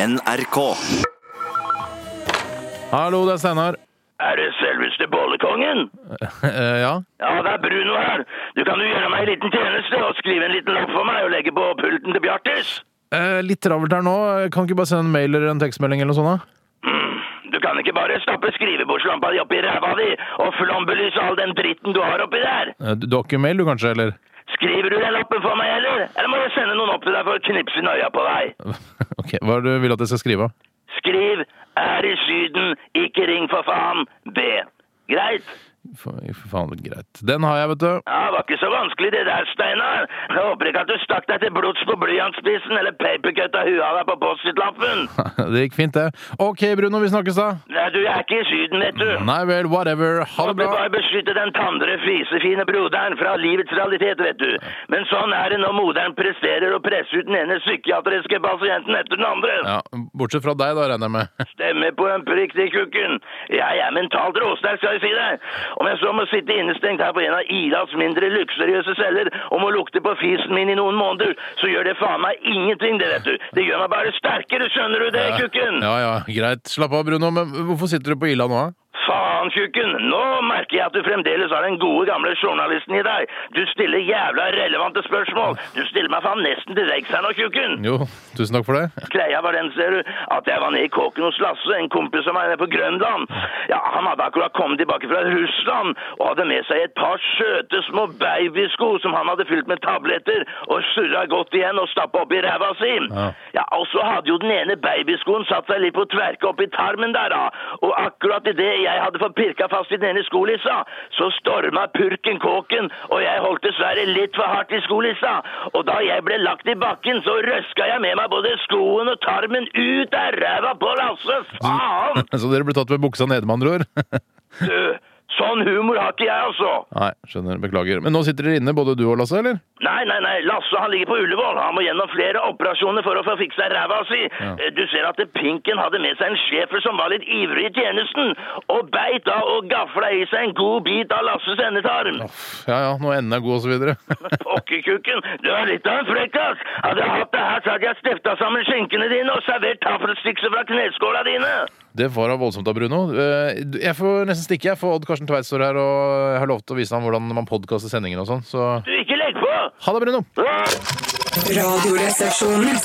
NRK. Hallo, det er Steinar. Er det selveste bollekongen? Eh, ja. Ja, det er Bruno her. Du kan jo gjøre meg en liten tjeneste og skrive en liten lapp for meg og legge på pulten til Bjartis. Eh, litt travelt her nå. Kan ikke bare sende en mail eller en tekstmelding eller noe sånt? da? Mm. Du kan ikke bare stappe skrivebordslampa di oppi ræva di og flombelyse all den dritten du har oppi der. Eh, Du, du har ikke mail, du kanskje? Eller? Skriver du den lappen for meg, eller? Eller må jeg sende noen opp til deg for å knipse i øya på deg? Ok, Hva er det du vil at jeg skal skrive? av? Skriv 'Er i Syden, ikke ring for faen'. B. Greit? Fa- for Faen, greit. Den har jeg, vet du. Ja, det var ikke så vanskelig det der, Steinar. Jeg håper ikke at du stakk deg til blods på blyantspissen eller papercut av huet av deg på post-it-lappen. Det gikk fint, det. OK, Bruno, vi snakkes da. Nei, du jeg er ikke i Syden, vet du. Nei vel, whatever. Ha det Måtte bra. bare beskytte den tandre, fisefine broderen fra livets realitet, vet du. Men sånn er det når moderen presterer å presse ut den ene psykiatriske pasienten etter den andre. Ja, Bortsett fra deg, da, regner jeg med. Stemme på en prikk til kukken. Jeg er mentalt råsterk, skal jeg si deg. Om jeg så må sitte innestengt her på en av Ilas mindre luksuriøse celler og må lukte på fisen min i noen måneder, så gjør det faen meg ingenting, det, vet du. Det gjør meg bare sterkere, skjønner du det, kukken? Ja ja, greit. Slapp av, Bruno. Men hvorfor sitter du på Ila nå? da? Faen, tjukken! Nå merker jeg at du fremdeles har den gode gamle journalisten i deg. Du stiller jævla relevante spørsmål. Du stiller meg faen nesten til veggs her nå, tjukken. Jo, tusen takk for det. Greia var den, ser du, at jeg var nede i kåken hos Lasse, en kompis av meg nede på Grønland. Ja, Han hadde akkurat kommet tilbake fra Russland og hadde med seg et par søte små babysko som han hadde fylt med tabletter og surra godt igjen og stappa opp i ræva si. Ja. Ja, og så hadde jo den ene babyskoen satt seg litt på tverke oppi tarmen der, da. Og akkurat idet jeg hadde fått pirka fast i den ene skolissa, så storma purken kåken, og jeg holdt dessverre litt for hardt i skolissa. Og da jeg ble lagt i bakken, så røska jeg med meg både skoen og tarmen ut av ræva på Lasse! Faen! Så dere ble tatt med buksa nede, med andre ord? Du, sånn humor har ikke jeg, altså. Nei, skjønner. Beklager. Men nå sitter dere inne, både du og Lasse, eller? Nei, nei, nei, Lasse han ligger på Ullevål. Han må gjennom flere operasjoner for å få fiksa ræva si. Eh, Du ser at Pinken hadde med seg en schæfer som var litt ivrig i tjenesten, og beit av og gafla i seg en god bit av Lasses endetarm. Ja ja, nå er enden er god, og så videre. Pokkekukken, du er litt av en frekkas! Hadde jeg hatt det her, så hadde jeg stifta sammen skinkene dine og servert taffelstikser fra kneskåla dine! Det var da voldsomt da, Bruno. Eh, du- Jeg får nesten stikke, jeg, for Odd Karsten Tveit står her, og jeg har lovt å vise ham hvordan man podkaster sendingen og sånn, så Du, ikke legg på! ha det, Bruno! Ah! Radioresepsjonen.